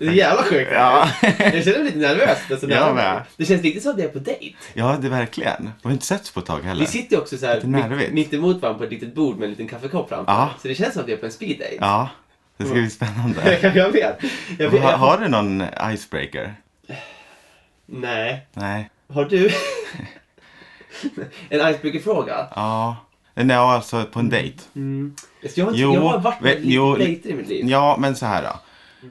Det är jävla sjukt. Ja. Jag känner mig lite nervös. Alltså, när Jag jag- med. Det känns riktigt som att jag är på dejt. ja, det är verkligen. Vi har inte setts på ett tag heller. Vi sitter ju också så här Lite nervigt. mitt, mitt emot varandra på ett litet bord med en liten kaffekopp framför. Ja. Så det känns som att vi är på en speed date. Ja, det ska bli spännande. jag vet. Jag vet Har, jag, har du någon icebreaker? nej. Nej. Har du? en icebreaker-fråga? Ja. Nej, alltså på en dejt. Alltså, jag, har inte- Jo, jag har varit ve- med lite jo, dejter i mitt liv. Ja, men så här då.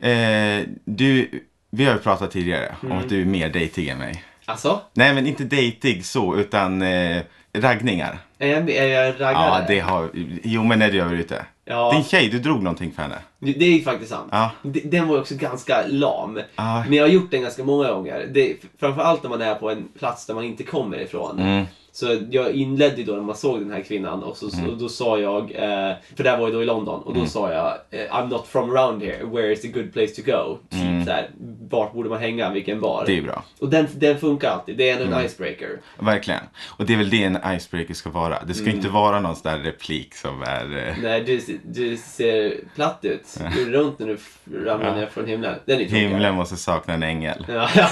Eh, du, vi har ju pratat tidigare Mm. om att du är mer dejtig än mig. Alltså, Nej, men inte dejtig så, utan eh, raggningar. är jag, är jag Ja, raggare? det har... Jo, men när du är ute. Ja. Din tjej, du drog någonting för henne. Det- Det är ju faktiskt sant. Ja. De- Den var ju också ganska lam. Ja. Men jag har gjort den ganska många gånger. Det, framförallt när man är på en plats där man inte kommer ifrån. Mm, Så jag inledde ju då när man såg den här kvinnan och, så, Mm. så, då sa jag, eh, för det här var ju då i London, och då sa jag eh, I'm not from around here, where is a good place to go? Typ Mm. så här, vart borde man hänga, vilken bar? Det är bra. Och den, den funkar alltid, det är ändå en Mm. icebreaker. Verkligen. Och det är väl det en icebreaker ska vara. Det ska inte vara någon sån där replik som är... Eh, Mm. Nej, du, du ser platt ut. Du är runt när du f- ramlar ner från himlen. Den är tråkig. himlen måste sakna en ängel. Ja, ja,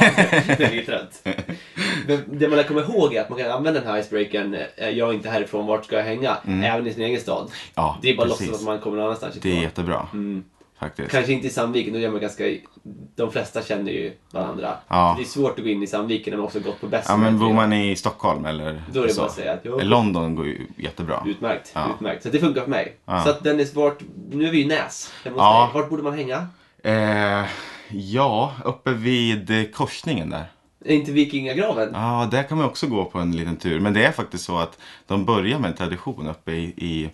det är lite trött. Men det man kommer ihåg är att man kan använda den här icebreakern, eh, jag är inte härifrån, vart ska jag hänga? Även i sin egen stad. Ja, det är bara att Mm. precis. låtsas att man Mm. kommer någon annanstans Det är ifrån. jättebra. Faktiskt. Kanske inte i Sandviken, då gör man ganska... De flesta känner ju varandra. Ja. Det är svårt att gå in i Sandviken när man också gått på bäst. Ja, men bor man i Stockholm eller Då är det så. Eh, bara att säga att jag- London går ju jättebra. Utmärkt, Ja. utmärkt. Så det funkar för mig. Så att den är svårt. Nu är vi i Näs. hemma hos Ja. dig. Vart borde man hänga? Eh, ja, uppe vid eh, korsningen där. Är inte Vikingagraven? Ja, där kan man också gå på en liten tur. Men det är faktiskt så att de börjar med en tradition uppe i, i,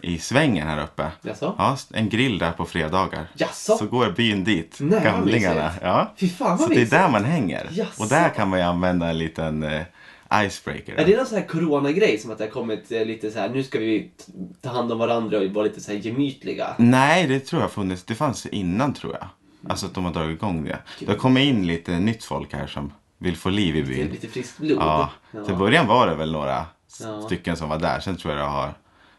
i svängen här uppe. Jaså? Ja, en grill där på fredagar. Jaså? Så går byn dit, Nej, vad gamlingarna. mysigt. Ja. Fy fan Så vad det är mysigt! där man hänger. Jaså. Och där kan man ju använda en liten eh, icebreaker. Är det någon sån här coronagrej som att det har kommit eh, lite så här, nu ska vi t- ta hand om varandra och vara lite så här gemytliga? Nej, det tror jag funnits. Det fanns innan tror jag. Alltså att de har dragit igång det. Det har kommit in lite nytt folk här som vill få liv i byn. Lite friskt blod? Ja, till början var det väl några s- Ja. stycken som var där. Sen tror jag det har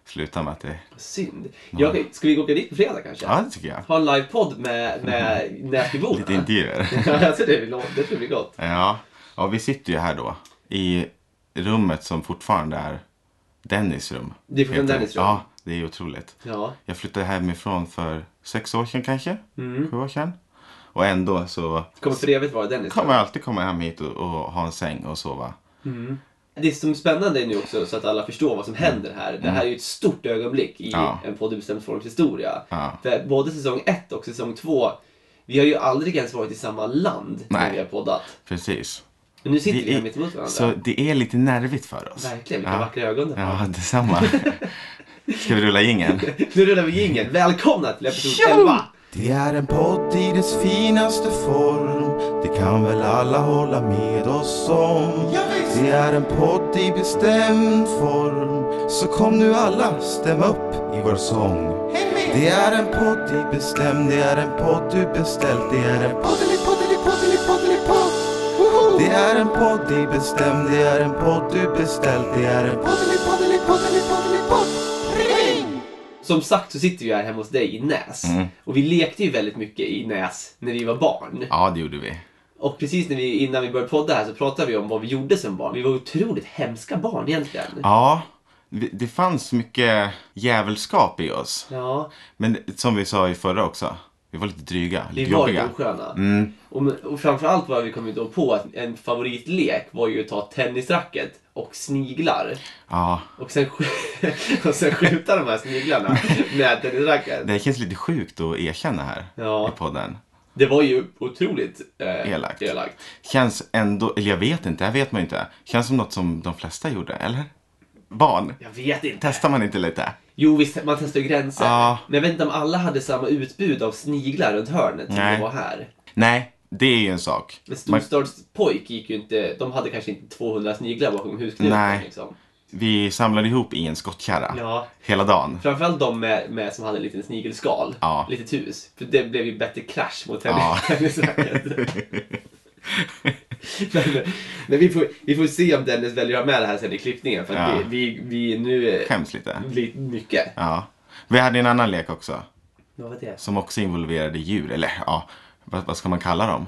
slutat med att det... Synd. Ja, okej, ska vi gå och åka dit på fredag kanske? Ja, det tycker jag. Ha en livepodd med, med Näsbyborna? Mm. Lite intervjuer. Ja, alltså det, blir långt- det tror vi gott. Ja. ja, vi sitter ju här då i rummet som fortfarande är Dennis rum. Det är fortfarande Heter- Dennis rum. Ja, det är otroligt. Ja. Jag flyttade hemifrån för sex år sedan kanske. Mm. Sju år sedan. Och ändå så Kommer för evigt vara Dennis. kommer jag alltid komma hem hit och, och ha en säng och sova. Det som är spännande nu också så att alla förstår vad som händer här. Det här är ju ett stort ögonblick i Ja. en podd i bestämd forms historia. Ja. För både säsong ett och säsong två, vi har ju aldrig ens varit i samma land när Nej. vi har poddat. Precis. Men nu sitter vi här är- mittemot varandra. Så det är lite nervigt för oss. Verkligen, vilka Ja. vackra ögon du har. Ja, detsamma. Ska vi rulla jingeln? Nu rullar vi jingeln. Välkomna till episod 11! Det är en podd i dess finaste form Det kan väl alla hålla med oss om Det är en podd i bestämd form Så kom nu alla, stäm upp i vår sång Det är en podd i bestämd Det är en podd du beställt Det är en poddelipoddelipoddelipoddelipodd Det är en podd i bestämd Det är en podd du beställt Det är en poddelipoddelipoddelipoddelipodd Ring! Som sagt så sitter vi här hemma hos dig i Näs. Mm. Och vi lekte ju väldigt mycket i Näs när vi var barn. Ja, det gjorde vi. Och precis när vi, innan vi började podda här så pratade vi om vad vi gjorde som barn. Vi var otroligt hemska barn egentligen. Ja, vi- det fanns mycket djävulskap i oss. Ja, Men som vi sa i förra också, vi var lite dryga, vi lite var lite jobbiga. Mm. osköna. Och, och framförallt var vi kommit då på att en favoritlek var ju att ta tennisracket och sniglar. Ja, Och sen, sk- och sen skjuta de här sniglarna med tennisracket. det känns lite sjukt att erkänna här Ja. i podden. Det var ju otroligt eh, Elakt. Känns ändå, eller jag vet inte, det här vet man ju inte. Känns som något som de flesta gjorde, eller? Barn, Jag vet inte. testar man inte lite? Jo visst, man testar ju gränser. Ja. Men jag vet inte om alla hade samma utbud av sniglar runt hörnet som Nej. det var här. Nej, det är ju en sak. En Man, storstadspojk gick ju inte, de hade kanske inte 200 sniglar bakom husknuten. Nej. Liksom. vi samlade ihop i en skottkärra Ja. hela dagen. Framförallt de med, med, som hade en liten snigelskal, Ja. litet hus. För det blev ju bättre krasch mot tennis- Ja. tennisracket. men men vi, får, vi får se om Dennis väljer att ha med det här sen i klippningen. För att Ja. vi, vi, vi nu... eh, Skäms lite. Lite mycket. Ja. Vi hade en annan lek också. Vad var det? Som också involverade djur. Eller ja, vad, vad ska man kalla dem?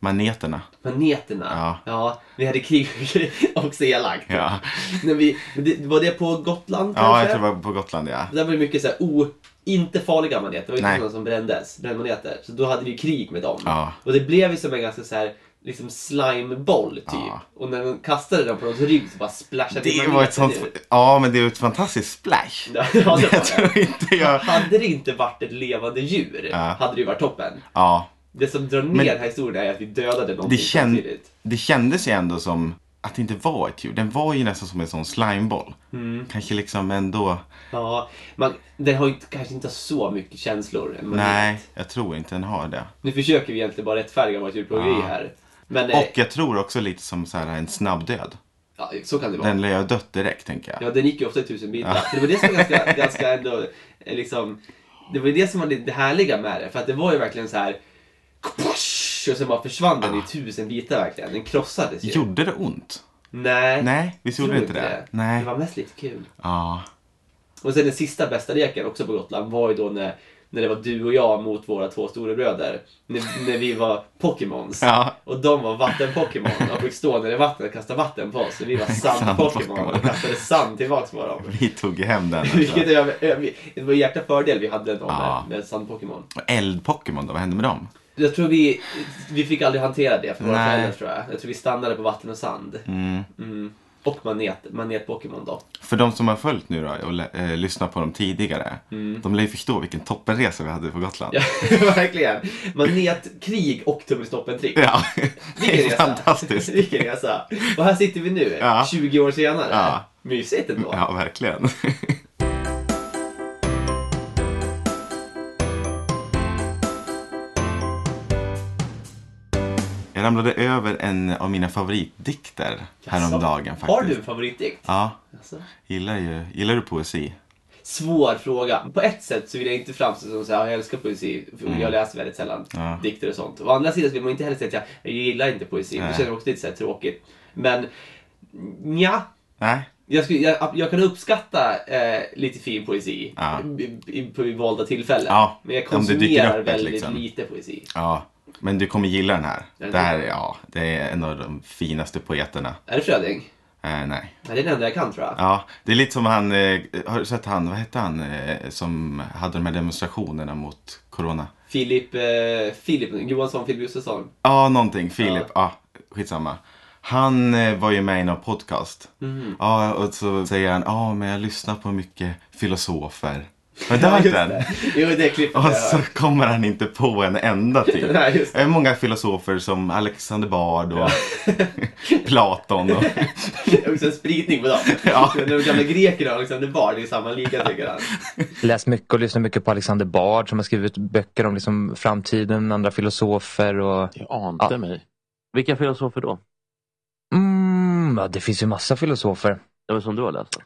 Maneterna. Maneterna. Ja. vi hade krig också elakt. Ja, När vi, men det, var det på Gotland ja jag tror det var på Gotland ja. Där var det mycket så här, o, inte farliga maneter. Det var ju inte Nej. sådana som brändes. Brännmaneter. Så då hade vi krig med dem. Ja. Och det blev ju som en ganska så här liksom slimeboll typ. Ja. Och när de kastade den på någons rygg så bara splashade Det maneter var ett sånt, ut. ja men det är ett fantastiskt splash. Ja, det var Jag det. tror inte jag, Hade det inte varit ett levande djur Ja. hade det ju varit toppen. ja. Det som drar ner Men- den här historien är att vi dödade någonting Det, känd, samtidigt. det kändes ju ändå som att det inte var ett djur. Den var ju nästan som en sån slimeboll. Mm. Kanske liksom ändå, Ja, man, den har ju inte, kanske inte så mycket känslor. en manet. nej jag tror inte den har det. Nu försöker vi egentligen bara rättfärdiga vårt djurplågeri Ja. här. Men eh, Och jag tror också lite som så här en snabb död. ja, så kan det vara. Den lär ju ha dött direkt tänker jag. Ja, den gick ju ofta i tusen bitar. Det var det som var ganska, ganska ändå, eh, liksom, det var ju det som var det härliga med det. För att det var ju verkligen så här. kaposch! Och sen bara försvann den i tusen bitar verkligen. Den krossades ju. Gjorde det ont? Nej, Nej, visst tror gjorde det inte det? Nej. Det var mest lite kul. Ja. Och sen den sista bästa leken också på Gotland var ju då när, när det var du och jag mot våra två storebröder. När, när vi var Pokémons. Ja. Och de var vatten-Pokémon och fick stå nere i vattnet och kasta vatten på oss. Och vi var sand-Pokémon och kastade sand tillbaks på dem. Vi tog ju hem den. Alltså. Vilket är, är- det var en jäkla fördel vi hade då med, Ja. med sand-Pokémon. Och Eld-Pokémon då, vad hände med dem? Jag tror vi, vi fick aldrig hantera det för våra Nej. föräldrar tror jag. Jag tror vi stannade på vatten och sand. Mm. Och manet, manet-Pokémon då. För de som har följt nu då och lä- eh, lyssnat på dem tidigare. De lär ju förstå vilken toppenresa vi hade på Gotland. Mm. Ja, verkligen. Manetkrig och tummelstoppen-trick. Ja, det Vilken är resa. fantastiskt. Vilken resa. Och här sitter vi nu, Ja. 20 år senare. Ja. Mysigt ändå. Ja, verkligen. Jag ramlade över en av mina favoritdikter häromdagen faktiskt. Har du en favoritdikt? Ja, Alltså, gillar, ju, gillar du poesi? svår fråga. På ett sätt så vill jag inte framstå som så här, "Ah, jag älskar poesi, för jag läser väldigt sällan Mm. Ja. dikter och sånt. Å andra sidan så vill man inte heller säga att jag, jag gillar inte poesi. Det Nej. känns också lite så här tråkigt. Men nja, Nej. jag, skulle, jag, jag kan uppskatta eh, lite fin poesi Ja. i, i, på i valda tillfällen. Ja, Men jag om det dyker konsumerar upp ett, väldigt liksom. lite poesi. Ja, men du kommer gilla den här. Den Det här är- ja, det är en av de finaste poeterna. Är det Fröding? Eh, nej. Ja, det är den enda jag kan tror jag. Ja, det är lite som han, eh, har du sett han, vad hette han, eh, som hade de här demonstrationerna mot corona? Filip, eh, Filip Johansson, Filip Gustafsson. Ja, någonting. Filip. Ja, skitsamma. Han eh, var ju med i någon podcast. Mhm. Ja, och så säger han, ja, men jag lyssnar på mycket filosofer. Har du hört just den? det. Jo, det klippet har Och jag så hört. kommer han inte på en enda till. Nej, just det. Det är många filosofer som Alexander Bard och Platon. Och, Det är också en spridning på dem. Ja. De gamla grekerna och Alexander Bard det är i samma liga tycker han. läst mycket och lyssnat mycket på Alexander Bard som har skrivit böcker om liksom framtiden, andra filosofer och... Jag ante Ja. mig. Vilka filosofer då? Mm, ja, det finns ju massa filosofer. Det var som du har läst? då?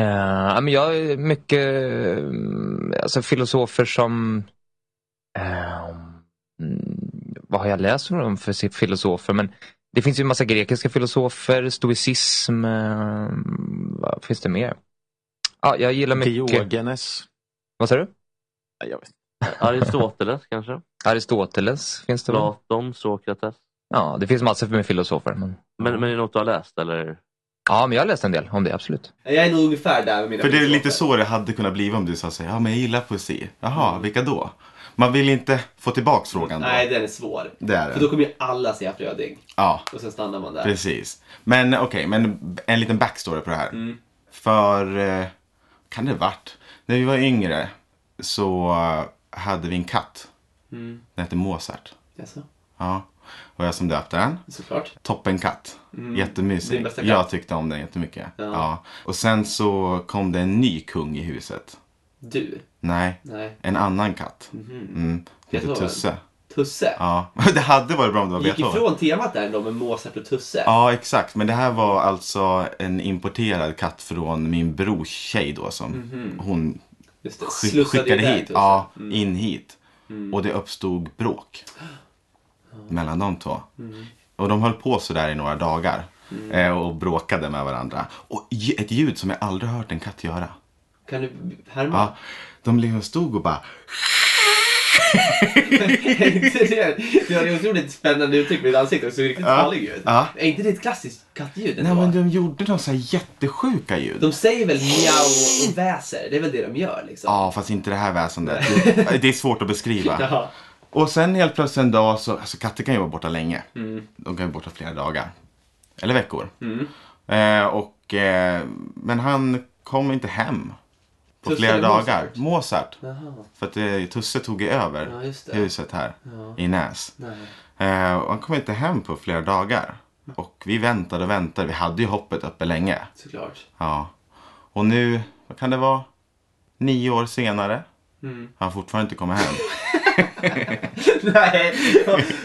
Eh, ja, men jag är mycket eh, alltså, filosofer som... eh, mm, vad har jag läst om dem för si- filosofer? Men det finns ju en massa grekiska filosofer, stoicism. eh, vad finns det mer? Ja, jag gillar mycket... Diogenes. Vad sa du? Nej, jag vet inte. Aristoteles kanske? Aristoteles finns det väl? Platon, Sokrates? Ja, det finns massor med filosofer. Men... Men, men är det något du har läst eller? Ja, men jag har läst en del om det, absolut. Jag är nog ungefär där med mina för det är lite filosofer. så det hade kunnat bli om du sa så här, ja, men jag gillar poesi. Jaha, vilka då? Man vill inte få tillbaks frågan då. Nej, den är svår. Det är För då det. kommer ju alla säga Fröding. Ja. Och sen stannar man där. Precis. Men okej, men en liten backstory på det här. Mm. För, eh, kan det varit, när vi var yngre så eh, hade vi en katt. Mm. Den hette Mozart. Jaså? Ja. Och jag som döpte den. Såklart. Toppenkatt. Mm. Din Jättemysig. bästa katt. Jag tyckte om den jättemycket. Ja. Och sen så kom det en ny kung i huset. Du? Nej, Nej. en annan katt. Mhm. Mm. Hon hette Beethoven. Tusse. Tusse? Ja, det hade varit bra om det var Gick Beethoven. ifrån temat där ändå med Mozart och Tusse. Ja, exakt. Men det här var alltså en importerad katt från min brors tjej då som hon Just det. skick- Mhm. Slussade ju skickade där alltså. hit. Mm. Tusse. Ja, in hit. Och det uppstod bråk mellan de två. Mm. Och de höll på sådär i några dagar eh, och bråkade med varandra. Och j- ett ljud som jag aldrig hört en katt göra. Kan du härma? Ja, de liksom stod och bara... Är inte det- du har ju otroligt spännande uttryck på ditt ansikte också. Det är riktigt Ja. farligt ljud. Ja. Är inte det ett klassiskt kattljud? Nej ändå? men de gjorde de så här jättesjuka ljud. De säger väl miau och väser? Det är väl det de gör liksom? Ja, fast inte det här väsendet. Det, det är svårt att beskriva. Jaha. Och sen helt plötsligt en dag så, alltså katter kan ju vara borta länge. Mm. De kan ju vara borta flera dagar. Eller veckor. Mm. Eh, och, eh, men han kom inte hem på Tusse flera eller dagar. Mozart? Mozart. Jaha. För att eh, Tusse tog ju över Ja, just det. huset här Ja. i Näs. Nej. Eh, och han kom inte hem på flera dagar. Mm. Och vi väntade och väntade. Vi hade ju hoppet uppe länge. Såklart. Ja. Och nu, vad kan det vara? Nio år senare. Mm. Han har fortfarande inte kommit hem. Nej.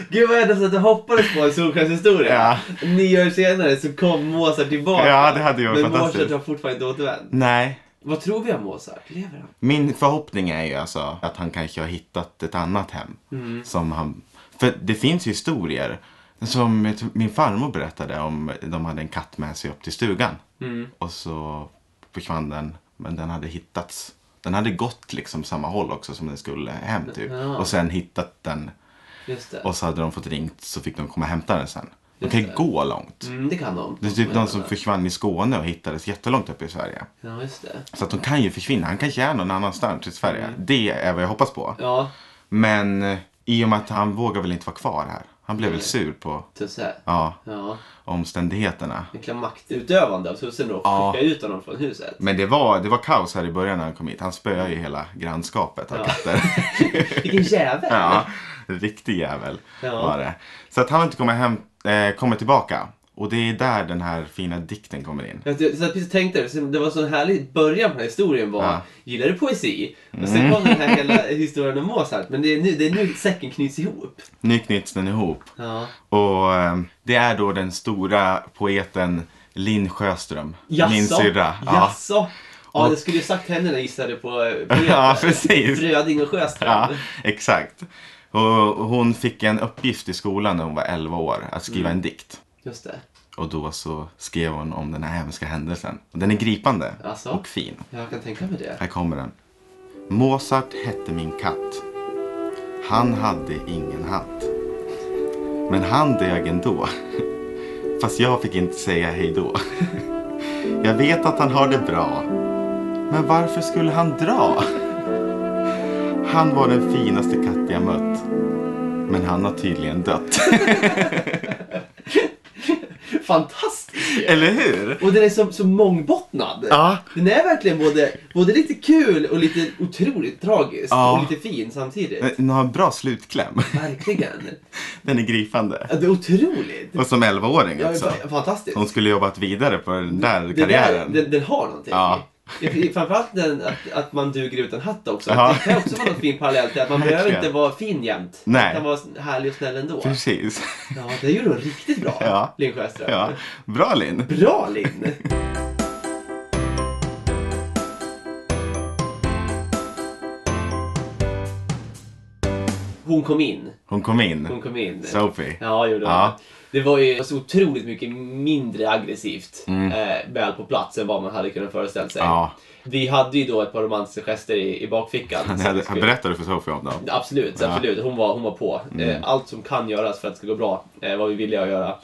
Gud vad jag nästan att du hoppades på en solskenshistoria. Ja. Nio år senare så kom Mozart tillbaka. Ja, det hade ju varit Men Mozart fantastiskt. har fortfarande inte återvänt. Nej. Vad tror vi om Mozart? Lever han? Min förhoppning är ju alltså att han kanske har hittat ett annat hem. Mm. Som han... För det finns ju historier. Som jag tror min farmor berättade om de hade en katt med sig upp till stugan. Mm. Och så försvann den. Men den hade hittats. Den hade gått liksom samma håll också som den skulle hem typ. Ja. Och sen hittat den. Just det. Och så hade de fått ringt så fick de komma och hämta den sen. De Just kan ju det. gå långt. Mm, det kan de. Det är typ de som försvinner. försvann i Skåne och hittades jättelångt upp i Sverige. Ja, just det. Så att de kan ju försvinna. Han kanske är någon annanstans i Sverige. Det är vad jag hoppas på. Mm. Ja, Men eh, i och med att han vågar väl inte vara kvar här. Han blev väl Nej. sur på Tusse. ja, Ja, omständigheterna. en maktutövande av tusen då. Ja. Skicka ut honom från huset. Men det var, det var kaos här i början när han kom hit. Han spöade ju hela grannskapet av Ja. katter. Vilken jävel! ja, riktig jävel Ja. var det. Så att han har inte kommit, hem, eh, kommit tillbaka. Och det är där den här fina dikten kommer in. Jag vet, så jag precis tänkte det, så det var så härlig början på den här historien var, Ja. Mm. gillar du poesi? Och sen kom den här hela historien om Mozart, men det är nu, det är nu säcken knyts ihop. Nu knyts den ihop. Ja. Och eh, det är då den stora poeten Linn Sjöström. Min Jaså? syrra. Ja. Jaså? Ja, det skulle ju sagt henne när jag gissade på eh, på Ja, Göte. precis. Fröding och Ja, Sjöstrand. exakt. Och hon fick en uppgift i skolan när hon var 11 år att skriva Mm. en dikt. Just det. Och då så skrev hon om den här hemska händelsen. Och den är gripande Alltså? och fin. Jag kan tänka mig det. Här kommer den. Mozart hette min katt. Han hade ingen hatt. Men han dög ändå. Fast jag fick inte säga hej då. Jag vet att han har det bra. Men varför skulle han dra? Han var den finaste katt jag mött. Men han har tydligen dött. Fantastiskt! Eller hur? Och den är så, så mångbottnad. Ja. Den är verkligen både, både lite kul och lite otroligt tragisk. Ja. Och lite fin samtidigt. Den Eh, har en bra slutkläm. Verkligen. Den är gripande. Ja, Det är otroligt. Och som 11-åring Ja, också. fa- fantastiskt. Hon skulle jobbat vidare på den där Den, där, karriären. den, den har någonting. Ja. I- Framförallt den, att, att man duger utan hatt också. Ja. Det kan också vara något fin parallell till att man behöver Verkligen. inte vara fin jämt. Nej. Man kan vara härlig och snäll ändå. Precis. Ja, det gjorde hon riktigt bra, Ja. Linn Sjöström. Ja. Bra Linn. Bra Linn! Hon kom in. Hon kom Hon in. kom in. Sophie. Ja, gjorde hon. Ja. Det var ju så otroligt mycket mindre aggressivt eh, väl på plats än vad man hade kunnat föreställa sig. Mm. Ja. Vi hade ju då ett par romantiska gester i, i bakfickan. Han Så hade, vi skulle- han berättade för Sophie om dem. Absolut, Ja. Mm. absolut. Hon var, hon var på. Eh, Allt som kan göras för att det ska gå bra, eh, vad vi ville jag göra.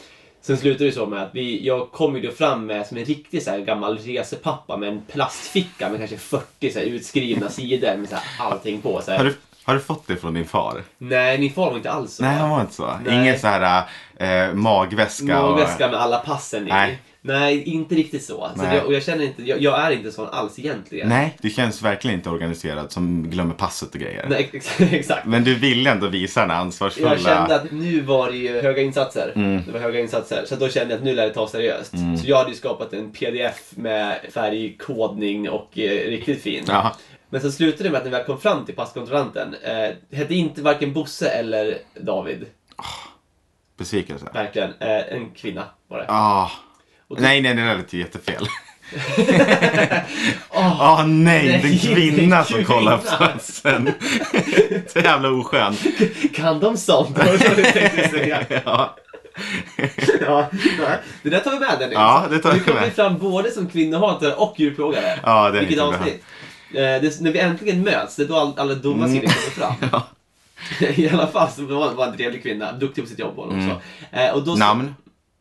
Sen slutade det så med att vi, jag kom ju då fram med som en riktig så här, gammal resepappa med en plastficka med kanske 40 så här, utskrivna sidor med så här, allting på. Så här. Har du, har du fått det från din far? Nej, min far var inte alls så. Nej, han var inte så. Nej. Ingen så här eh, magväska. och- Magväska med alla passen i. Nej. Nej, inte riktigt så. så Nej. jag, och jag känner inte, jag, jag är inte sån alls egentligen. Nej, du känns verkligen inte organiserad som glömmer passet och grejer. Nej, ex- exakt. Men du ville ändå visa den här ansvarsfulla... Jag kände att nu var det ju höga insatser. Mm. Det var höga insatser. Så att då kände jag att nu lär det ta seriöst. Så jag hade ju skapat en pdf med färgkodning och eh, riktigt fin. Ja. Men sen slutade det med att när vi kom fram till passkontrollanten eh, hette inte varken Bosse eller David. Besvikelse. Ja. Verkligen. Eh, en kvinna var det. Och då- Nej, nej, det där lät ju jättefel. Åh nej, nej, det är en det är kvinna som kvinna. kollar på platsen. Så jävla oskön. Kan de sånt? Var det så du tänkte säga? Ja. Ja, nej. det där tar vi med den Ja, det tar Nu vi kommer med. vi fram både som kvinnohatare och djurplågare. Ja, det är Vilket inte bra. avsnitt. Eh, det, när vi äntligen möts, det är då all, alla dumma sinnen kommer fram. Mm. Ja. I alla fall så var hon var en trevlig kvinna, duktig på sitt jobb var hon också. Eh, och då så- Mm. Namn?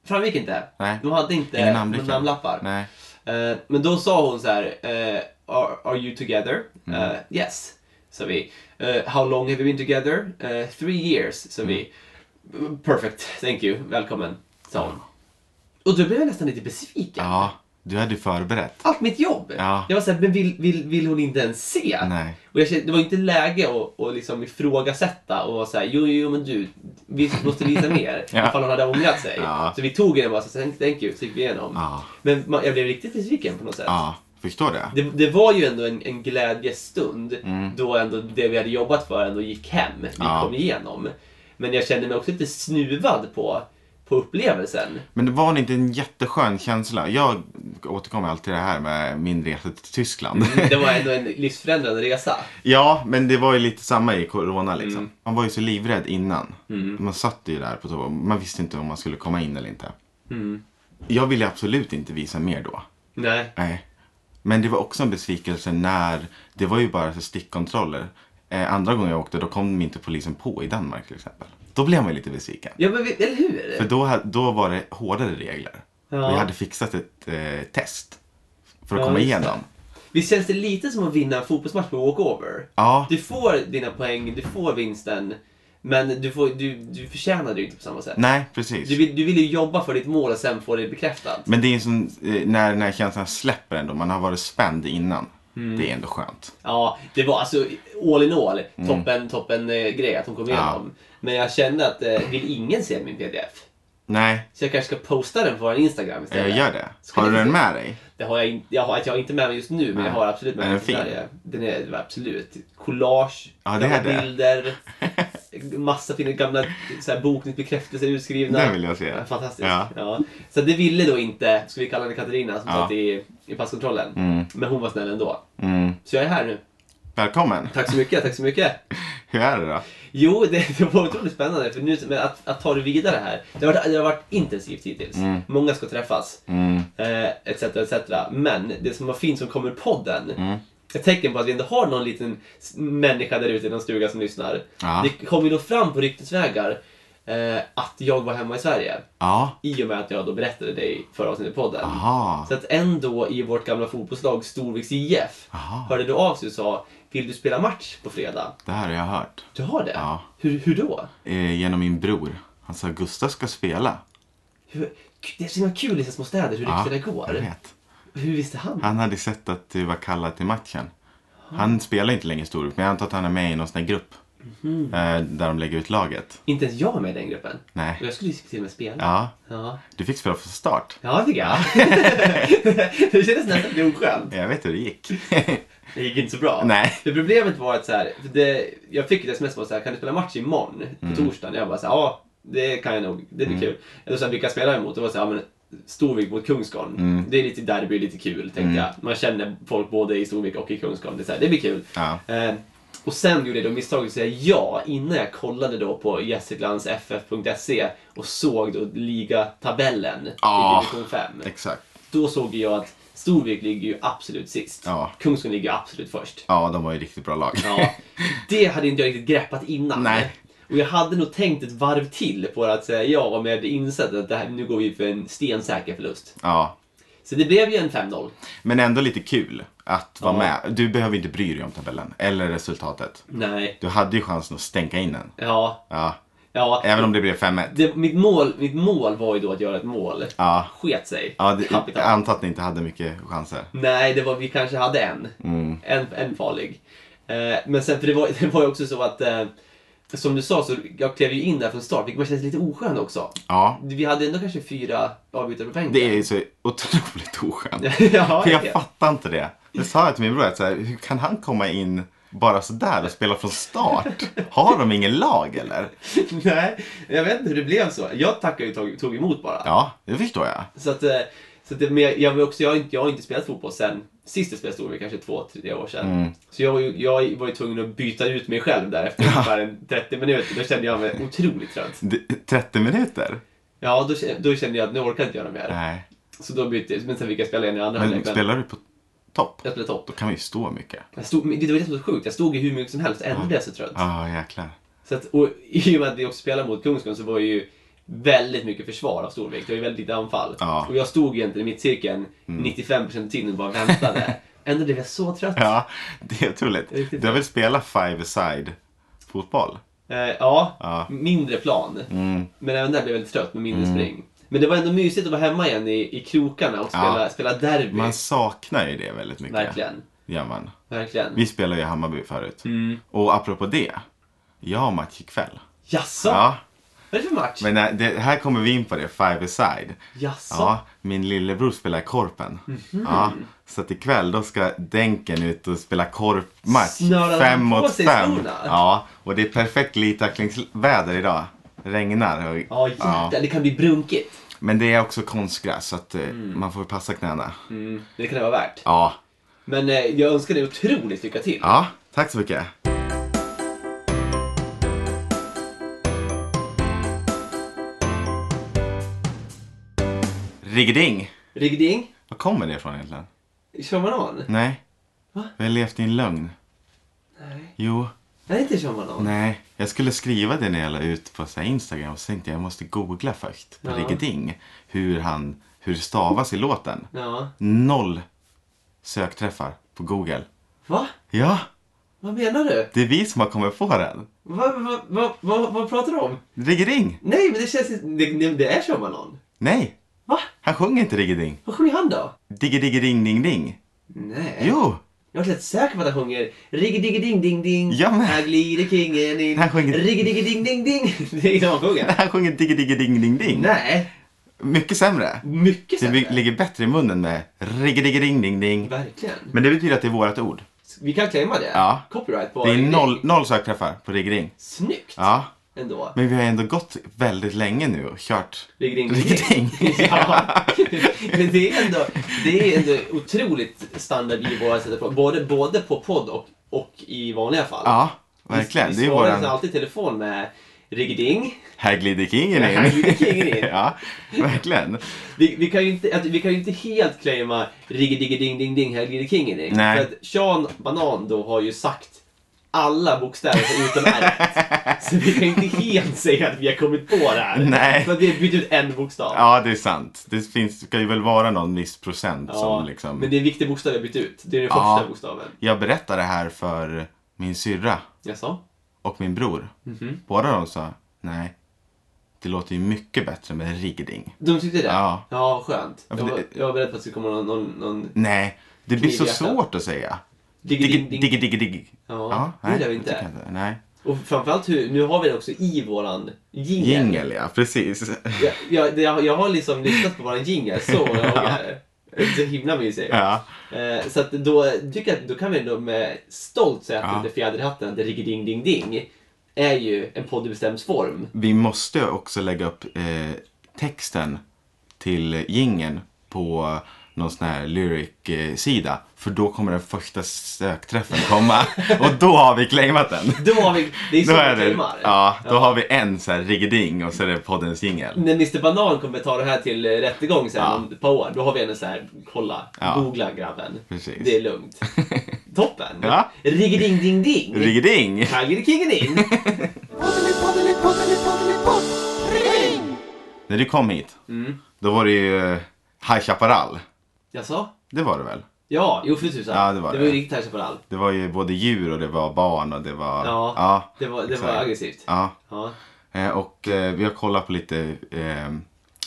Framgick inte. Nej. De hade inte Ingen några namn, riktigt. namnlappar. Nej. Eh, men då sa hon så här, eh, are, are you together? Mm. Eh, yes, sa vi. Eh, how long have you been together? Eh, three years, sa vi. Mm. Perfect, thank you, välkommen, sa hon. Och då blev jag nästan lite besviken. Ja, du hade förberett. Allt mitt jobb! Ja. Jag var såhär, men vill, vill, vill hon inte ens se? Nej. Och jag kände, det var inte läge att, att liksom ifrågasätta och vara såhär, jo, jo, men du, vi måste visa mer. Ja. Ifall hon hade ångrat sig. Ja. Så vi tog henne och bara, så, thank, thank you, så gick vi igenom. Ja. Men man, jag blev riktigt besviken på något sätt. Ja, förstår det. Det, det var ju ändå en, en glädjestund då ändå det vi hade jobbat för ändå gick hem. Vi Mm. Ja. kom igenom. Men jag kände mig också lite snuvad på, på upplevelsen. Men det var inte en jätteskön känsla. Jag återkommer alltid till det här med min resa till Tyskland. Det var ändå en livsförändrande resa. Ja, men det var ju lite samma i corona liksom. Man var ju så livrädd innan. Man satt ju där på toa. Man visste inte om man skulle komma in eller inte. Jag ville absolut inte visa mer då. Nej. Nej. Men det var också en besvikelse när det var ju bara så stickkontroller. Eh, andra gången jag åkte då kom inte polisen på i Danmark till exempel. Då blev man ju lite besviken. Ja, men vi, eller hur? För då, ha- då var det hårdare regler. Ja. Vi hade fixat ett eh, test för att Ja, komma just det. igenom. Visst känns det lite som att vinna en fotbollsmatch på walkover? Ja, Du får dina poäng, du får vinsten, men du, får, du, du förtjänar det ju inte på samma sätt. nej precis. Du vill, du vill ju jobba för ditt mål och sen få det bekräftat. Men det är en sån, eh, när, när känslan släpper ändå, man har varit spänd innan. Mm. Det är ändå skönt. Ja, det var alltså all in all Mm. toppen, toppen eh, grej att hon kom igenom. Men jag kände att eh, vill ingen se min pdf? Nej, Så jag kanske ska posta den på vår Instagram jag istället. Eh, gör det. Ska Har du vi- den med dig? Det har jag, in, jag, har, jag har inte med mig just nu, men Nej. jag har absolut med Är mig den till fin? Sverige. Den är absolut. Collage, Ja, det är gamla det. bilder, massa fina gamla så här, bokningsbekräftelser utskrivna. Den vill jag se. Ja, Fantastiskt. Ja. Ja. Så det ville då inte, ska vi kalla henne Katarina, som Ja. satt i, i passkontrollen. Mm. Men hon var snäll ändå. Mm. Så jag är här nu. Välkommen. Tack så mycket, tack så mycket. Hur är det då? Jo, det, det var otroligt spännande. För nu, men att, att ta det vidare här. Det har varit, det har varit intensivt hittills. Mm. Många ska träffas. Mm. Eh, etc, etc. Men det som var fint som kommer i podden. Mm. Ett tecken på att vi ändå har någon liten s- människa där ute i någon stuga som lyssnar. Ja. Det kom ju då fram på ryktesvägar eh, att jag var hemma i Sverige. Ja. I och med att jag då berättade det i förra avsnittet i podden. Aha. Så att en då i vårt gamla fotbollslag Storviks IF Aha. hörde då av sig och sa Vill du spela match på fredag? Det här har jag hört. Du har det? Ja. Hur, hur då? Eh, genom min bror. Han sa Gustav ska spela. Hur, det är så himla kul i så små städer hur ryktena jag går. vet. Hur visste han? Han hade sett att du var kallad till matchen. Han spelar inte längre i Storvik, men jag antar att han är med i någon sån här grupp. Mhm. Eh, där de lägger ut laget. Inte ens jag var med i den gruppen. Nej. Och jag skulle ju till och med spela. Ja, Ja, du fick spela från start. ja det tycker jag. det kändes nästan lite oskönt. Jag vet hur det gick. Det gick inte så bra. Nej. För problemet var att så här, för det, jag fick ett sms som var så här, kan du spela match imorgon? På Mm. torsdagen? Jag bara så här, ja det kan jag nog, det blir kul. Och sen vilka spelar jag emot? Det var så här, ja, men Storvik mot Kungsgården. Mm. Det är lite derby, lite kul tänkte jag. Man känner folk både i Storvik och i Kungsgården. Det, är så här, det blir kul. Ja. Eh, och sen gjorde jag då misstaget att säga ja innan jag kollade då på gästriklandsff.se och såg då ligatabellen Ah. i division 5 Exakt. då såg ju jag att Storvik ligger ju absolut sist. Ja. Kungsgården ligger ju absolut först. Ja, de var ju riktigt bra lag. Ja. Det hade inte jag riktigt greppat innan. Nej. Och jag hade nog tänkt ett varv till på att säga ja om jag hade insett att det här, nu går vi för en stensäker förlust. Ja. Så det blev ju en 5-0. Men ändå lite kul att vara Ja. med. Du behöver inte bry dig om tabellen eller resultatet. Nej. Du hade ju chansen att stänka in den. Ja. Ja. Ja. Även om det blev 5-1. Det, mitt, mål, mitt mål var ju då att göra ett mål. Ja. Sket sig. ja det, jag Kapital. antar att ni inte hade mycket chanser. Nej, det var, vi kanske hade en. Mm. En, en farlig. Eh, men sen, för det var, det var ju också så att eh, som du sa, så jag klev ju in där från start, vilket man känns lite oskön också. Ja. Vi hade ändå kanske fyra avbytare på bänken. Det är ju så otroligt oskönt. ja, För det- jag fattar inte det. Det sa jag till min bror, att så här, hur kan han komma in bara sådär och spela från start? Har de ingen lag eller? Nej, jag vet inte hur det blev så. Jag tackade ju tog, tog emot bara. Ja, det förstår jag. Så att, eh, så att det, men jag, jag, var också, jag, har inte, jag har inte spelat fotboll sen sist jag spelade storvik, kanske två, tre år sedan. Mm. Så jag var, ju, jag var ju tvungen att byta ut mig själv där efter ungefär en 30 minuter. Då kände jag mig otroligt trött. Det- 30 minuter? Ja, då, kä- då kände jag att nu orkar jag inte göra mer. Nej. Så då bytte jag, men sen fick jag spela igen i andra Men spelar du på topp. Jag spelade topp. Då kan man ju stå mycket. Jag stod, men det var det som var så sjukt. Jag stod ju hur mycket som helst. Ändå blev jag så trött. Ja, jäklar. Så att, och i och med att vi också spelade mot Kungsgården så var det ju väldigt mycket försvar av Storvik. Det var ju väldigt lite anfall. Ja. Mm. Och jag stod ju egentligen i mittcirkeln 95% av tiden och bara väntade. Ändå blev jag så trött. Ja, det är otroligt. Riktigt Du har väl spelat five-a-side fotboll? Eh, ja, Ja. mindre plan. Mm. Men även där blev jag väldigt trött med mindre spring. Men det var ändå mysigt att vara hemma igen i, i krokarna och spela, Ja. spela derby. Man saknar ju det väldigt mycket. Verkligen. Gör man. Verkligen. Vi spelade ju i Hammarby förut. Mm. Och apropå det. Jag har match ikväll. Jaså? Ja, Vad är det för match? men nej, det, här kommer vi in på det. Five-a-side. Jaså? Ja, min lillebror spelar i korpen. Mhm. Ja, så att ikväll då ska Denken ut och spela korpmatch. Snörar han fem på mot sig fem. skorna? Ja, och det är perfekt litacklingsväder idag. Regnar. Och, Ja, jäklar. Det kan bli brunkigt. Men det är också konstgräs så att eh, man får passa knäna. Mm. Det kan det vara värt. Ja, Men eh, jag önskar dig otroligt lycka till. ja, tack så mycket. Riggeding. Rigding, Var kommer det ifrån egentligen? Shamanan? Nej. Va? Vi har levt i en lögn. Nej. Jo, Nej, inte Shamanan. nej. Jag skulle skriva det när jag la ut på så här Instagram och så tänkte jag jag måste googla först på Ja. Riggeding hur han, hur det stavas i låten. Ja. Noll sökträffar på Google. Va? Ja, Vad menar du? det är vi som har kommit på den. Va, va, va, va, vad pratar du om? Riggeding! Nej, men det känns inte... Det, det, det är Shamanan. Nej, Va? han sjunger inte Riggeding. Vad sjunger han då? Diggediggeringding-ding. Nej. Jo! Jag är helt säker på att han sjunger Riggediggedigding-ding. Ja, men- Här glider kingen in. Han sjunger- Riggediggedigding-ding. Det är det han sjunger. Han sjunger Diggediggeringding. Nej. Mycket sämre. Mycket Det sämre. by- ligger bättre i munnen med Riggediggeringding. Verkligen. Men det betyder att det är vårt ord. Vi kan claima det. Ja. Copyright på Det är Riggedigg. noll, noll sökträffar på Riggeding. Snyggt Ja, ändå. men vi har ändå gått väldigt länge nu och kört. Riggeding. Riggeding. ja. Men det är ändå, det är ändå otroligt standard i våra sätt att prata. Både, både på podd och, och i vanliga fall. Ja, verkligen. Vi, det vi är svarar nästan våran... alltid i telefon med Riggeding. Här glider kingen in. Här glider kingen in. ja, verkligen. Vi, vi, kan ju inte, att- vi kan ju inte helt claima Riggediggeding-ding-ding här glider kingen in. Nej. För att Sean Banan då har ju sagt alla bokstäver förutom R. Så vi kan ju inte helt säga att vi har kommit på det här. Nej. För att vi har bytt ut en bokstav. Ja, det är sant. Det finns, ska ju väl vara någon viss procent Ja, som liksom... Men det är en viktig bokstav jag bytt ut. Det är den Ja. första bokstaven. Jag berättade det här för min syrra Jaså? och min bror. Mhm. Båda de sa, nej, det låter ju mycket bättre med Riggeding. De tyckte det? Ja. Ja, skönt. Ja, Jag för var, det- jag var beredd på att det skulle komma någon... någon, någon... Nej, det blir så Kniv i hjärtat. svårt att säga. Diggeding, ding. Diggediggedigg. Ja, det gillar vi tycker inte. jag inte. Nej. Och framförallt hur, nu har vi det också i våran jingle. Jingel, ja. Precis. Jag, jag, det- jag, jag har liksom lyssnat på våran jingle så många gånger. Det är Så himla mysigt. Ja. Eh, så att då tycker jag att då kan vi ändå med stolt säga att Ja. inte fjäder i hatten, att riggeding ding ding är ju en podd i bestämd form. Vi måste också lägga upp eh, texten till jingeln på någon sån här lyric-sida. För då kommer den första sökträffen komma. och då har vi claimat den. Då har vi, det är så Då vi är det, filmar. ja, då har vi en så här riggeding och så är det poddens jingel. När Mr Banan kommer ta det här till eh, rättegång sen Ja. om ett par år, då har vi ändå så här, kolla, Ja. googla grabben. Precis. Det är lugnt. Toppen! Ja. Riggeding ding ding! Riggeding! Här glider kingen in! När du kom hit, Mm. då var det ju eh, High Chaparral. Jaså? Det var det väl? Ja, jo för tusan. Ja, det var det det. var ju riktigt High Chaparral. Det var ju både djur och det var barn och det var... Ja, ja, det var, det var exakt. aggressivt. ja. Ja. Eh, Och eh, vi har kollat på lite, eh,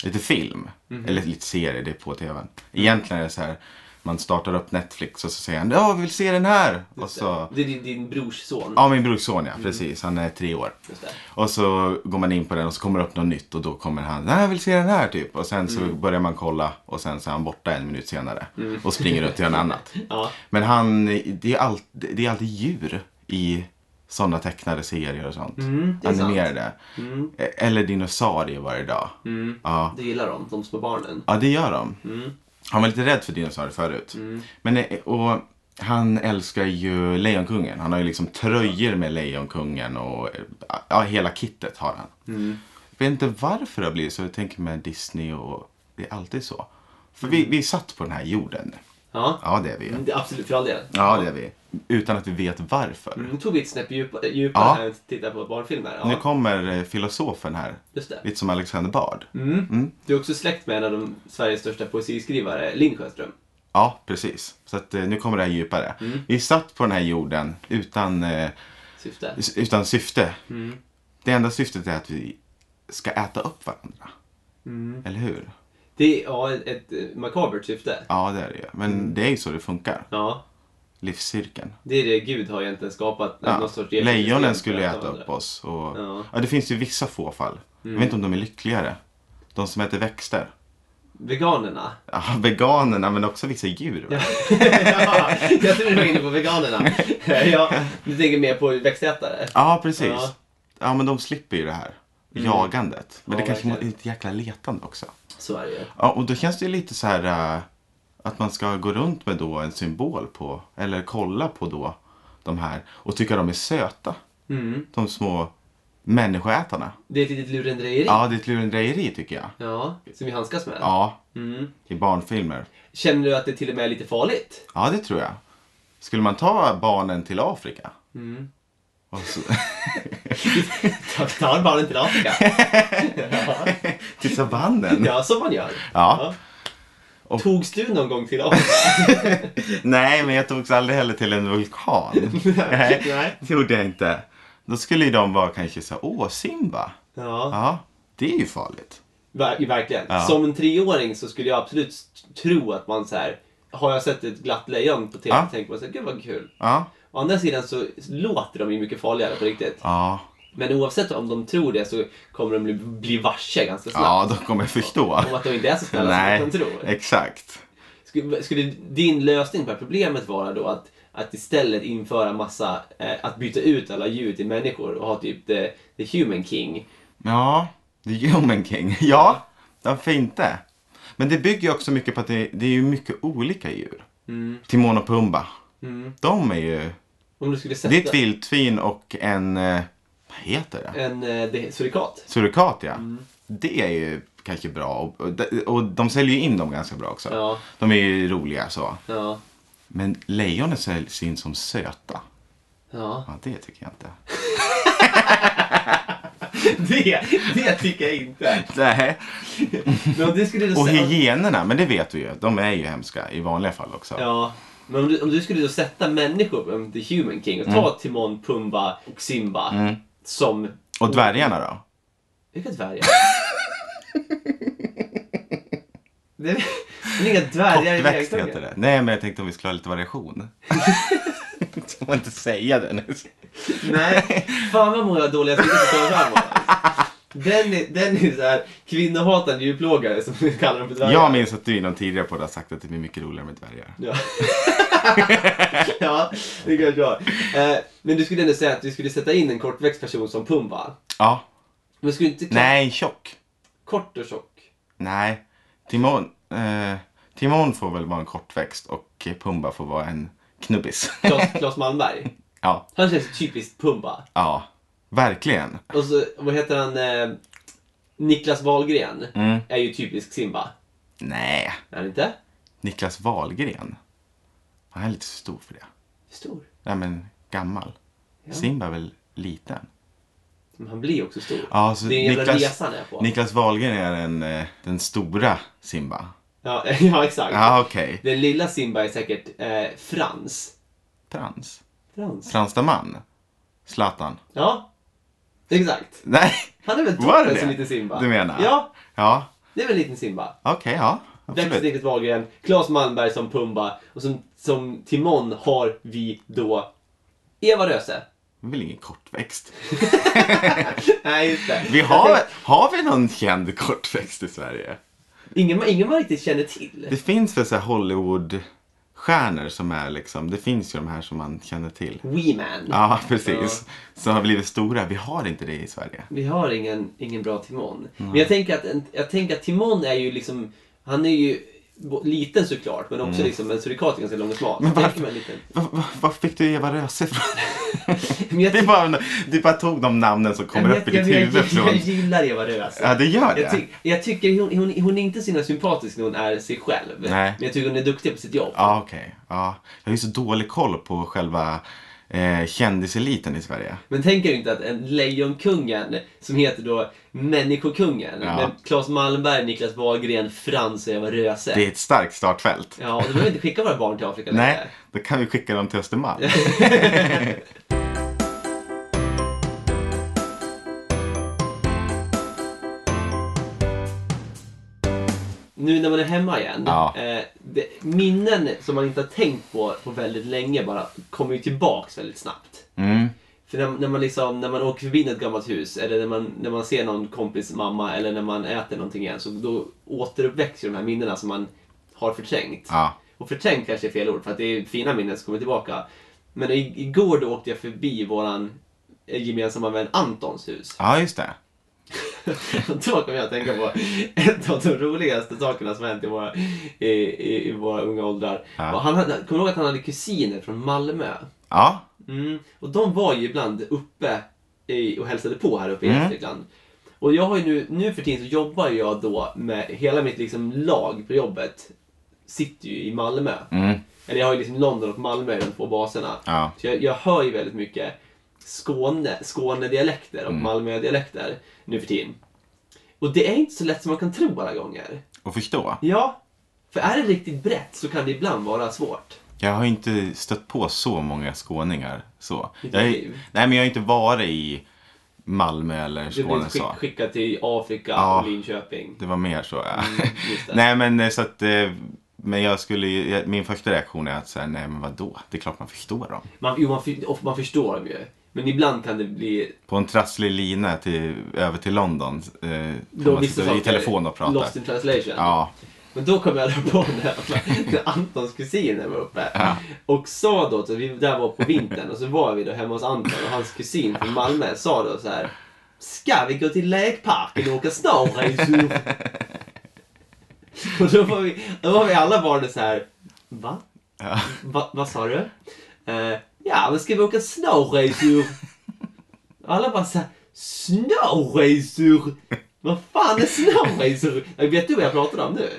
lite film. Mhm. Eller lite serier, det är på tvn. Egentligen är det så här, man startar upp Netflix och så säger han ja, vi vill se den här. Och så, Det Mm. är din, din brors son. ja min brors son ja, precis. Han är tre år. Just det. Och så går man in på den och så kommer det upp något nytt och då kommer han, nej jag vill se den här typ. Och sen så Mm. börjar man kolla och sen så är han borta en minut senare. Och springer runt till en annat. Ja. Men han, det är, allt, det är alltid djur i sådana tecknade serier och sånt. Mm, det är sant. Animerade. Mm. Eh, Eller dinosaurier varje dag. Mm. Ja. Det gillar de, de små barnen. ja, det gör de. Mm. Han var lite rädd för dinosaurier förut. Mm. Men, eh, och han älskar ju Lejonkungen. Han har ju liksom tröjor med Lejonkungen och eh, ja, hela kittet har han. Mm. Jag vet inte varför det har blivit så. Jag tänker med Disney och det är alltid så. För vi, vi satt på den här jorden Ja, Ja, det är vi. Mm, det- absolut för all del. Ja, det är vi. Utan att vi vet varför. Mm, Nu tog vi ett snäpp djupa- djupare Ja. här och tittade på barnfilmer. Nu Ja, kommer eh, filosofen här. just det. Lite som Alexander Bard. Mm. Mm. Du är också släkt med en av de Sveriges största poesiskrivare, Linn Sjöström. Ja, precis. Så att, eh, nu kommer det här djupare. Mm. Vi satt på den här jorden utan, eh, Syfte. s- utan syfte. Mm. Det enda syftet är att vi ska äta upp varandra. Mm. Eller hur? Det är ja, ett, ett eh, makabert syfte. Ja, det är det ju. Men Mm. det är ju så det funkar. Ja, Livscirkeln. det är det Gud har egentligen skapat. Ja. någon sorts ekosystem Lejonen för skulle ju att äta upp varandra. oss. Och... Ja. Mm. Ja. det finns ju vissa få fall. Jag vet inte om de är lyckligare. De som äter växter. Veganerna. Ja, veganerna, men också vissa djur. va? ja, jag tror du var inne på veganerna. ja, du tänker mer på växtätare. Ja, precis. Ja. Mm. Ja. men de slipper ju det här jagandet. Men Ja, det kanske verkligen. är ett jäkla letande också. Så är det ju. Ja, och då känns det ju lite så här eh, att man ska gå runt med då en symbol på, eller kolla på då de här och tycka de är söta. Mm. De små människoätarna. Det är ett litet lurendrejeri. Ja, det är ett lurendrejeri tycker jag. Ja, som vi handskas med. Ja, Mm. i barnfilmer. Känner du att det till och med är lite farligt? Ja, det tror jag. Skulle man ta barnen till Afrika? Mm. Och så, Ta- Tar barnen till Afrika? ja. till savannen? ja, som man gör. Ja. Och- Togs du någon gång till Afrika? Nej, men jag togs aldrig heller till en vulkan. Nej. Det gjorde jag inte. Då skulle ju de vara kanske så här, åh Simba. Ja, Ja, det är ju farligt. Ver- verkligen. Ja. Som en treåring så skulle jag absolut s- tro att man så här. Har jag sett ett glatt lejon på tv Ja. tänker man så här, gud vad kul. Ja, Å andra sidan så låter de ju mycket farligare på riktigt. ja, Men oavsett om de tror det så kommer de bli, bli varse ganska snabbt. ja de kommer förstå. Om att de inte är så snälla Nej, som de tror. exakt. Skulle, skulle din lösning på det här problemet vara då att, att istället införa massa, eh, att byta ut alla djur till människor och ha typ the, the human king? Ja, the human king. Ja, varför inte? Men det bygger ju också mycket på att det, det är ju mycket olika djur. Mm. Timon och Pumba. De är ju... Om du skulle sätta Det är ett vildtvin och en... eh, Vad heter det? en eh, det- surikat? Surikat, ja. Mm. Det är ju kanske bra. Och, och, de- och de säljer ju in dem ganska bra också. Ja. De är ju roliga så. Ja. Men lejonen säljs in som söta. Ja. Ja, det tycker jag inte. Det, det tycker jag inte. Nej. Men om du skulle då Och sä- hyenorna, men det vet vi ju. De är ju hemska i vanliga fall också. Ja. Men om du, om du skulle då sätta människor på The Human King och ta Timon, Pumba och Simba som... Och dvärgarna då? Vilka dvärgar? det är det är inga dvärgar i Kortväxt Lejonkungen. heter det. Nej, men jag tänkte om vi skulle ha lite variation. Ska man inte säga det nu? Nej, fan vad många dåliga sidor som kommer fram. Den är, den är så här kvinnohatande djurplågare som vi kallar dem för dvärgar. Jag minns att du i någon tidigare podd har sagt att det blir mycket roligare med dvärgar. Ja. ja, det kanske jag har. Eh, Men du skulle ändå säga att du skulle sätta in en kortväxt person som Pumba. Ja. Men skulle du inte klä Nej, tjock. kort och tjock? Nej. Timon, eh, Timon får väl vara en kortväxt och Pumba får vara en knubbis. Claes- Claes Malmberg. ja, Han känns typiskt Pumba. ja. Verkligen. Och så, vad heter han? Eh, Niklas Wahlgren Mm. är ju typisk Simba. Nej. Är han inte? Niklas Wahlgren. Han är lite för stor för det. Hur stor? Nej, men gammal. Simba är väl liten? Men han blir också stor. Ja, så det är en jävla Niklas- resa han är på. Niklas Wahlgren är den, eh, den stora Simba. Ja, ja, exakt. Ja, okej. Den lilla Simba är säkert eh, Frans. Frans. Frans? Frans da man. Zlatan. Ja, exakt. Nej, Han är väl Var toppen det? som liten Simba? du menar? Ja, Ja, det är väl en liten Simba. okej, ja. Växte Absolut. Niklas Wahlgren, Claes Malmberg som Pumba och som, som Timon har vi då Eva Röse. Det är väl ingen kortväxt. Nej, just det. Vi Jag har, tänkte, har vi någon känd kortväxt i Sverige? ingen, ingen man riktigt känner till. Det finns väl så här Hollywood-stjärnor som är liksom, det finns ju de här som man känner till. Wee-Man. Ja, precis. Som har blivit stora. Vi har inte det i Sverige. Vi har ingen, ingen bra Timon. Men jag tänker, att, en- jag tänker att Timon är ju liksom, han är ju bo- liten såklart, men också liksom en surikat är ganska lång och smal. Mm. Men Men varför- varför? Man liten. Va- va- Var fick du Eva Röse ifrån? Men jag, Du bara, du bara tog de namnen som kommer upp i ditt jag, jag, huvud jag, jag från... gillar Eva Röse. Ja, det gör Jag, det. ty- jag tycker hon, hon, hon är inte så himla sympatisk när hon är sig själv. Nej. Men jag tycker hon är duktig på sitt jobb. Ja, okej. Ja. Jag har ju så dålig koll på själva eh, kändiseliten i Sverige. Men tänker du inte att en Lejonkungen som heter då Människokungen Ja. med Claes Malmberg, Niklas Wahlgren, Frans och Eva Röse. Det är ett starkt startfält. Ja, och då behöver vi inte skicka våra barn till Afrika Nej, längre. då kan vi skicka dem till Östermalm. Nu när man är hemma igen. Ja. Eh, det, minnen som man inte har tänkt på på väldigt länge bara kommer ju tillbaks väldigt snabbt. Mm. För när, när, man liksom, när man åker förbi ett gammalt hus eller när man, när man ser någon kompis mamma eller när man äter någonting igen så då återuppväcks ju de här minnena som man har förträngt. Ja. Och förträngt kanske är fel ord för att det är fina minnen som kommer tillbaka. Men i, igår då åkte jag förbi våran eh, gemensamma vän Antons hus. ja, just det. Och då kom jag att tänka på en av de roligaste sakerna som hänt i våra, i, i, i våra unga åldrar. Ja. Och han hade, kommer du ihåg att han hade kusiner från Malmö? Ja, Mm. Och de var ju ibland uppe i, och hälsade på här uppe i Mm. Gästrikland. Och jag har ju nu, nu för tiden så jobbar jag då med hela mitt liksom lag på jobbet. Sitter ju i Malmö. Mm. Eller jag har ju liksom London och Malmö i de två baserna. Ja. Så jag, jag hör ju väldigt mycket Skåne, Skånedialekter Mm. och Malmödialekter nu för tiden. Och det är inte så lätt som man kan tro alla gånger. och förstå. Ja, för är det riktigt brett så kan det ibland vara svårt. Jag har ju inte stött på så många skåningar. Så. I ditt Jag, är- liv? nej, men jag har inte varit i Malmö eller Du blir liksom Skåne. skick, Så. skickad till Afrika Ja. och Linköping. Det var mer så. Ja. Mm, just det. nej, men eh, så att... eh, Men jag skulle ju- jag- min första reaktion är att så här, nej men vadå? Det är klart man förstår dem. Man, jo, man, för- of- man förstår dem ju. Men ibland kan det bli... På en trasslig lina till, över till London. Eh, kan Då man vissa sitta i saker- telefon och prata. Lost in translation. Ja, Men då kom jag på när, när Antons kusiner var uppe. Och sa då, att vi där var på vintern och så var vi då hemma hos Anton och hans kusin från Malmö sa då så här. Ska vi gå till lekparken och åka snowrace? och då var, vi, då var vi alla barnen så här. Va? Ja. Va, vad sa du? Eh, ja, men ska vi åka snowracer? Alla bara såhär, snowracer? Vad fan är snowracer? Jag vet du vad jag pratar om nu?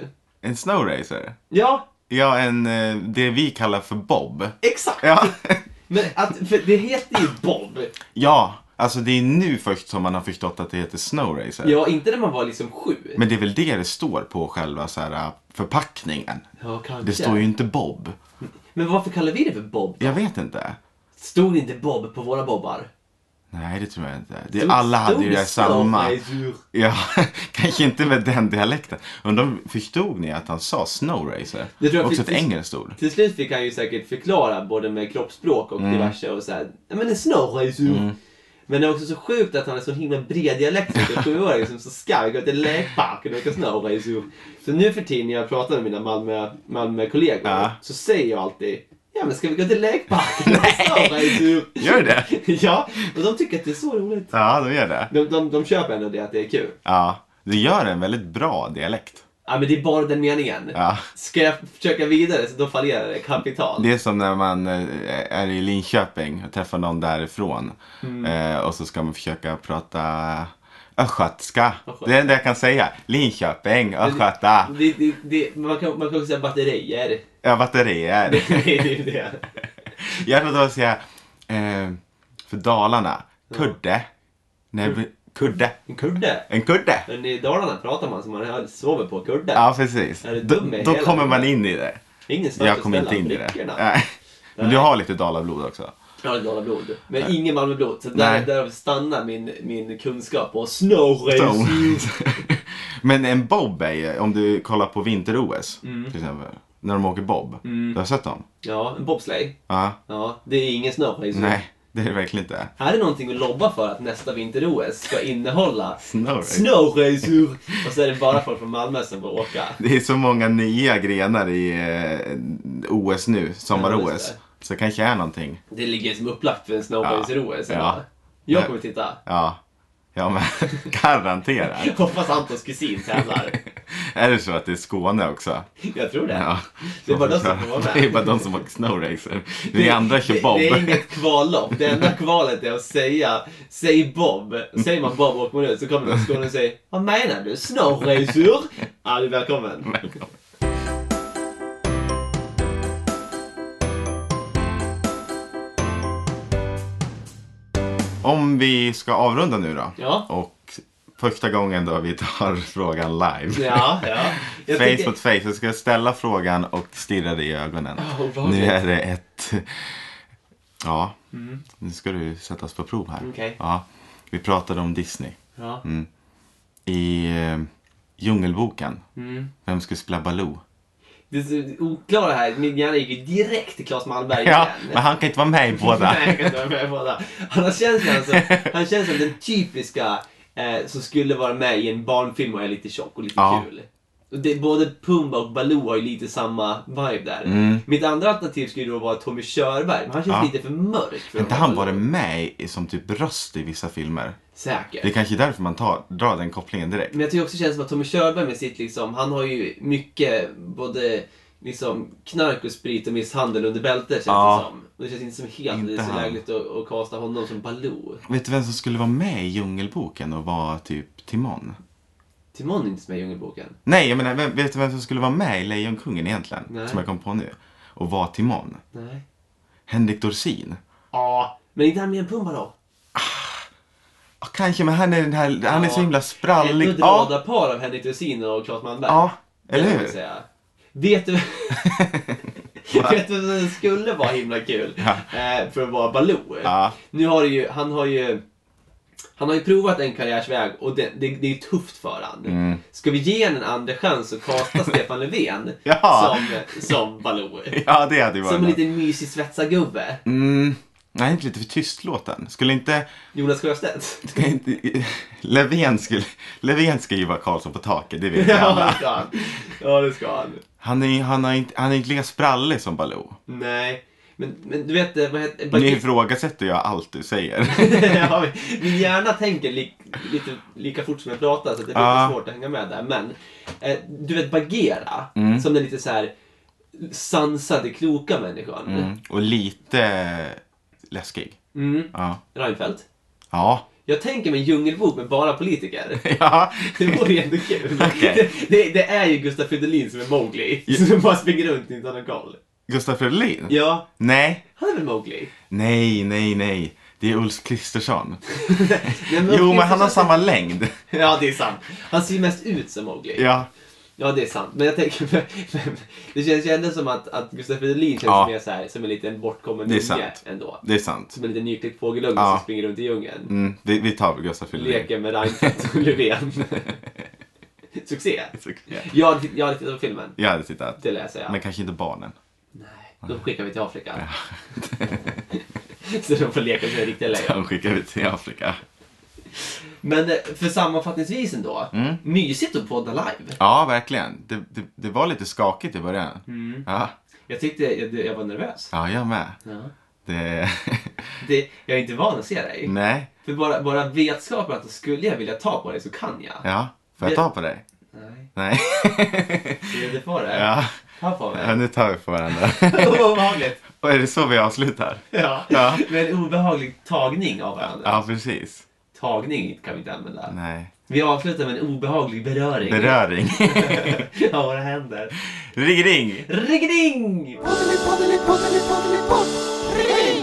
en snowracer. Ja, Ja, en, eh, det vi kallar för bob. exakt! Ja. Men att, för det heter ju Bob. ja, alltså det är nu först som man har förstått att det heter snowracer. Ja, inte när man var liksom sju. Men det är väl det det står på själva så här, äh, förpackningen. Ja, kanske. Det står ju inte Bob. Men varför kallar vi det för Bob? Jag vet inte. Stod inte Bob på våra bobbar? Nej, det tror jag inte. Det, alla hade Stod ju det samma. Snowracer? Ja, kanske inte med den dialekten. Undrar om förstod ni att han sa snowracer? Det tror jag Också ett precis. engelskt ord. Till slut fick han ju säkert förklara både med kroppsspråk Mm. och diverse och såhär, "Ja, men en snowracer. Men det är också så sjukt att han är så himla bred dialekt som en sjuåring som så ska gå till lekparken och åka snowracer. Så nu för tiden när jag pratar med mina Malmö, Malmö-kollegor Ja. så säger jag alltid Ja men ska vi gå till lekparken och åka snowracer? Gör det? ja, och de tycker att det är så roligt. Ja, de gör det. De, de, de köper ändå det att det är kul. Ja, det gör en väldigt bra dialekt. Ja men det är bara den meningen. Ja. Ska jag försöka vidare så då fallerar det kapitalt. Det är som när man eh, är i Linköping och träffar någon därifrån. Mm. Eh, och så ska man försöka prata östgötska. Det är det jag kan säga. Linköping, östgöta. Det, det, det, man, kan, man kan också säga batterier. Ja, batterier. det är ju typ det. Jag trodde att säga eh, för Dalarna, kudde. Nej, men kudde. En kudde. En kudde. Men i Dalarna pratar man som man sover på kudde. Ja, precis. Är du Då, dum i då hela kommer man huvudet? in i det. Det är ingen snack Jag att kommer inte ställa in i det. brickorna. Nej. Men du Nej. har lite Dalablod också. Jag har lite Dalablod. Men ingen Malmöblod. Så Nej. där, därav stannar min, min kunskap på snowrace. Men en bob är ju, om du kollar på vinter-OS Mm. till exempel. När de åker bob. Du har sett dem? Ja, en bobsleigh. Ja. Ja, det är ingen snowrace. Nej, det är det verkligen inte. Här är någonting att lobba för att nästa vinter-OS ska innehålla Snowrace. snowracer. Och så är det bara folk från Malmö som får åka. Det är så många nya grenar i eh, OS nu, Ja, sommar-OS. just Så det kanske är någonting. Det ligger som upplagt för en snowracer-OS. Ja. Ja. Jag kommer titta. Ja, ja men garanterat. Hoppas Antons kusin tävlar. Är det så att det är Skåne också? Jag tror det. Ja. Det är bara de som får vara med. Det är bara de som åker snowracer. Vi andra kör Bob. Det, det är inget kvallopp. Det enda kvalet är att säga, säg Bob. Säger man Bob åker man ut så kommer någon skåning och säger Vad menar du? Snowracer? Ja, du är välkommen. Om vi ska avrunda nu då. Ja. Och första gången då vi tar frågan live. Ja, ja. Jag face tänker- mot face. Jag ska ställa frågan och stirra dig i ögonen. Ja, obehagligt. nu är det ett... Ja. Nu ska du sättas på prov här. Mm. Okej. Ja. Vi pratade om Disney. Ja. I eh, Djungelboken. Mm. Vem skulle spela Baloo? Det är så oklara här. Min hjärna gick ju direkt till Claes Malmberg Ja, igen. men han kan inte vara med i båda. Nej, jag kan inte vara med på båda. Han har känslan som, alltså, han känns som den typiska eh, som skulle vara med i en barnfilm och är lite tjock och lite Ja. kul. Och Det, både Pumba och Baloo har ju lite samma vibe där. Mm. Mitt andra alternativ skulle då vara Tommy Körberg, men han känns Ja. lite för mörk. För Har inte att han vara varit Baloo. med i- som typ röst i vissa filmer? Säkert. Det är kanske är därför man tar, drar den kopplingen direkt. Men jag tycker också det känns som att Tommy Körberg med sitt liksom, han har ju mycket både liksom knark och sprit och misshandel under bältet känns Ja. det som. Och det känns inte som helt Inte så han. lägligt att, att kasta honom som Baloo. Vet du vem som skulle vara med i Djungelboken och vara typ Timon? Timon är inte ens med i Djungelboken. Nej, jag menar, vem, vet du vem som skulle vara med i Lejonkungen egentligen? Nej. Som jag kom på nu. Och vara Timon? Nej. Henrik Dorsin? Ja. Men inte han med en Pumba då? Ja, kanske, men han är, den här, han är Ja. så himla sprallig. Ändå ett Ja, radarpar av Henrik Dorsin och Claes Malmberg. ja, Det eller kan man hur? Säga. Vet du... Vet du vem som skulle vara himla kul? Eh, för att vara Baloo. Ja. Nu har det ju, han har ju... Han har ju provat en karriärsväg och det, det, det är tufft för han. Mm. Ska vi ge honom en andra chans och kasta Stefan Löfven Ja. som, som Baloo? ja, det hade ju varit Som en något. liten mysig svetsargubbe. Mm, nej, inte lite för tystlåten. Skulle inte... Jonas Sjöstedt. Ska inte Löfven, skulle, Löfven ska ju vara Karlsson på taket, det vet vi alla. det ska han. Ja, det ska han. Han är, han har inte, han är inte lika sprallig som Baloo. Nej. Men, men du vet, eh, vad heter... Nu ifrågasätter jag allt du säger. ja, men min hjärna tänker li lite lika fort som jag pratar så att det blir Ja. lite svårt att hänga med där. Men eh, du vet Bagheera, Mm. som den lite så här sansade, kloka människan. Mm. Mm. Och lite läskig. Ja. Reinfeldt. Ja. Jag tänker mig en djungelbok med bara politiker. ja. Det vore ju ändå kul. Okej. Det, det, det är ju Gustaf Fridolin som är Mowgli. Som bara springer runt utan någon koll. Gustaf Fridolin? Ja, Nej. han är väl Mowgli? Nej, nej, nej. Det är Ulf Kristersson. Nej, Mowgli Jo, men han har känns- samma längd. Ja, det är sant. Han ser ju mest ut som Mowgli. Ja. Ja, det är sant. Men jag tänker, det känns ju ändå som att, att Gustaf Fridolin känns Ja. mer så här, som en liten bortkommen Det är unge sant. ändå. Det är sant. Som en liten nyklippt fågelunge Ja. som springer runt i djungeln. Mm, det, vi tar Gustaf Fridolin. Leker med Reinfeldt och Löfven. Succé! Jag hade- jag hade tittat på filmen. Jag hade tittat. Det läser jag. Men kanske inte barnen. Då skickar vi till Afrika. så de får leka med riktiga lejon. De skickar vi till Afrika. Men eh, för sammanfattningsvis ändå. Mm. Mysigt att podda live. Ja, verkligen. Det, det, det var lite skakigt i början. Mm. Ja, Jag tyckte jag, jag var nervös. ja jag med. Ja. Det... Det, jag är inte van att se dig. Nej. För bara, bara vetskapen att skulle jag vilja ta på dig så kan jag. Ja. Får jag Det- ta på dig? Nej, Nej. ser du på det? Ja. Ta på ja, mig. nu tar vi på varandra. Vad obehagligt. Och är det så vi avslutar? Ja. Ja. Med en obehaglig tagning av varandra. Ja, precis. Tagning kan vi inte använda. Nej. Vi avslutar med en obehaglig beröring Beröring. av våra händer. ring, ring! Ring, ring! Poddeli, poddeli, poddeli, poddeli, podd. Ring!